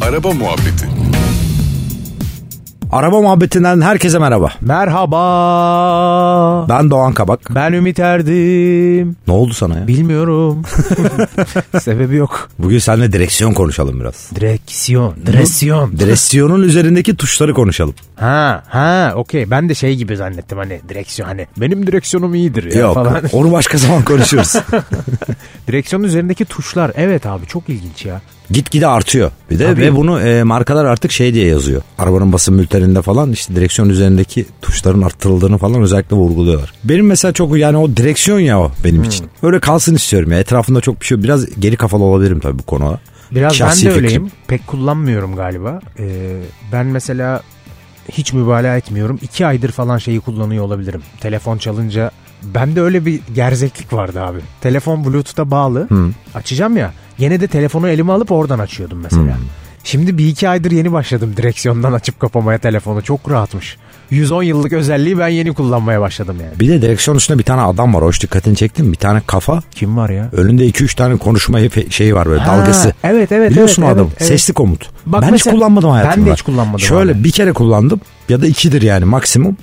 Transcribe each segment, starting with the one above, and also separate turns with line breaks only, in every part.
Araba Muhabbeti
Araba muhabbetinden herkese merhaba.
Merhaba.
Ben Doğan Kabak.
Ben Ümit Erdim.
Ne oldu sana ya?
Bilmiyorum. Sebebi yok.
Bugün seninle direksiyon konuşalım biraz.
Direksiyon. Direksiyon.
Direksiyonun üzerindeki tuşları konuşalım.
Ha ha okey. Ben de şey gibi zannettim hani direksiyon hani benim direksiyonum iyidir ya
Yok
falan.
onu başka zaman konuşuruz.
Direksiyonun üzerindeki tuşlar. Evet abi çok ilginç ya.
Gitgide artıyor. Bir de
Tabii.
ve bunu e, markalar artık şey diye yazıyor. Arabanın basın bülteninde falan işte direksiyon üzerindeki tuşların arttırıldığını falan özellikle vurguluyorlar. Benim mesela çok yani o direksiyon ya o
Hmm.
benim için. Öyle kalsın istiyorum ya. Etrafında çok bir şey yok. Biraz geri kafalı olabilirim tabii bu konuda.
Biraz
Şahsi
ben de
fikrim.
öyleyim. Pek kullanmıyorum galiba. Ee, ben mesela hiç mübalağa etmiyorum. İki aydır falan şeyi kullanıyor olabilirim. Telefon çalınca bende öyle bir gerzeklik vardı abi. Telefon Bluetooth'a bağlı. Açacağım ya. Gene de telefonu elime alıp oradan açıyordum mesela. Şimdi bir iki aydır yeni başladım direksiyondan açıp kapamaya telefonu. Çok rahatmış. 110 yıllık özelliği ben yeni kullanmaya başladım yani.
Bir de direksiyon üstünde bir tane adam var. Hoş dikkatini çektim. Bir tane kafa.
Kim var ya?
Önünde 2-3 tane konuşma hepe- şeyi var böyle dalgası.
Evet evet.
Biliyorsun
evet,
o adamı.
evet, evet.
Sesli komut.
Bak
ben
mesela-
hiç kullanmadım
Ben de
hayatımda.
hiç kullanmadım
Şöyle
abi.
bir kere kullandım ya da ikidir yani maksimum.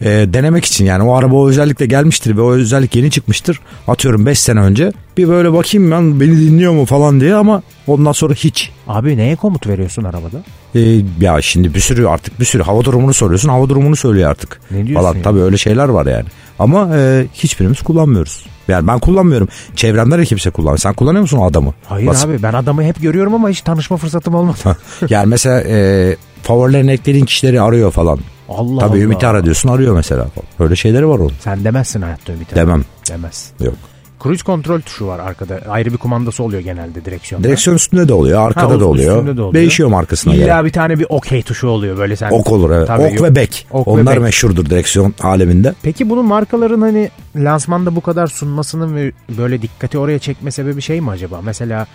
Ee, denemek için yani o araba o özellikle gelmiştir ve o özellik yeni çıkmıştır. Atıyorum 5 sene önce. Bir böyle bakayım ben beni dinliyor mu falan diye ama ondan sonra hiç.
Abi neye komut veriyorsun arabada?
Ee, ya şimdi bir sürü artık bir sürü hava durumunu soruyorsun. Hava durumunu söylüyor artık.
Ne diyorsun
Falan
ya?
tabii öyle şeyler var yani. Ama e, hiçbirimiz kullanmıyoruz. Yani ben kullanmıyorum. Çevremden de kimse kullanmıyor. Sen kullanıyor musun o adamı?
Hayır
Nasıl?
abi ben adamı hep görüyorum ama hiç tanışma fırsatım olmadı.
Yani mesela e, favorilerini eklediğin kişileri arıyor falan.
Allah
Tabii
Allah.
Ümit'i ara diyorsun arıyor mesela falan. Böyle şeyleri var onun.
Sen demezsin hayatta Ümit'e.
Demem.
Demez.
Yok.
Cruise kontrol tuşu var arkada. Ayrı bir kumandası oluyor genelde direksiyonda.
Direksiyon üstünde de oluyor,
Ha,
arkada
o-
da, oluyor.
üstünde de oluyor.
Değişiyor markasına göre.
İlla bir tane bir okey tuşu oluyor böyle sen.
Ok olur evet.
Tabii,
ok
yok.
ve bek.
Ok ve
Onlar
bek.
meşhurdur direksiyon aleminde.
Peki bunu markaların hani lansmanda bu kadar sunmasının ve böyle dikkati oraya çekme sebebi şey mi acaba? Mesela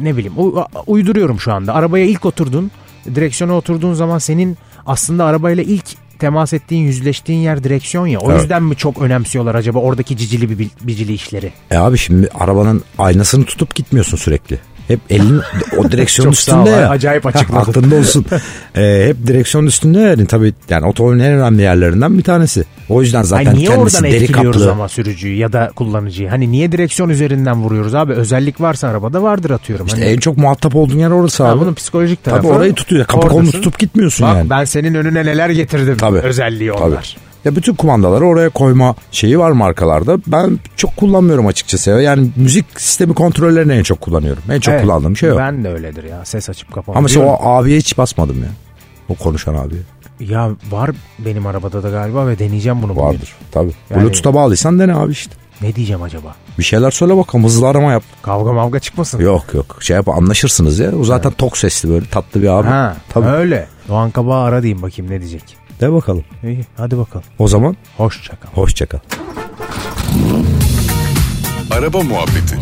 ne bileyim u- uyduruyorum şu anda. Arabaya ilk oturdun, direksiyona oturduğun zaman senin aslında arabayla ilk temas ettiğin, yüzleştiğin yer direksiyon ya. O
Evet.
yüzden mi çok önemsiyorlar acaba oradaki cicili bi- bicili işleri?
E abi şimdi arabanın aynasını tutup gitmiyorsun sürekli. Hep elin o direksiyonun
Çok sağ ol,
üstünde ya.
acayip açıkladın.
Aklında olsun. E, hep direksiyonun üstünde yani tabii yani otomobilin en önemli yerlerinden bir tanesi. O yüzden zaten
Ay niye
kendisi
oradan
deri
etkiliyoruz
kaplı.
ama sürücüyü ya da kullanıcıyı? Hani niye direksiyon üzerinden vuruyoruz abi? Özellik varsa arabada vardır atıyorum.
İşte
hani,
en E, çok muhatap olduğun yer orası
Ha,
abi.
bunun psikolojik tarafı.
Tabii orayı tutuyor. Kapı kolunu
Oradasın.
tutup gitmiyorsun
Bak
yani.
ben senin önüne neler getirdim
Tabii.
özelliği onlar.
Tabii. Ya bütün kumandaları oraya koyma şeyi var markalarda. Ben çok kullanmıyorum açıkçası. ya. Yani müzik sistemi kontrollerini en çok kullanıyorum. En çok
Evet.
kullandığım şey o.
Ben de öyledir ya ses açıp kapamak.
Ama mesela o abiye hiç basmadım ya. O konuşan abi
Ya var benim arabada da galiba ve deneyeceğim bunu. bugün.
vardır. Tabii.
Yani-
Bluetooth'a bağlıysan dene abi işte.
Ne diyeceğim acaba?
Bir şeyler söyle bakalım hızlı arama yap.
Kavga mavga çıkmasın.
Yok yok şey yap anlaşırsınız ya. O zaten tok sesli böyle tatlı bir abi.
Ha,
Tabii.
öyle. Doğan Kabağı ara diyeyim bakayım ne diyecek.
De bakalım.
İyi hadi bakalım.
O zaman
Hoşça kal.
hoşçakal.
Araba Muhabbeti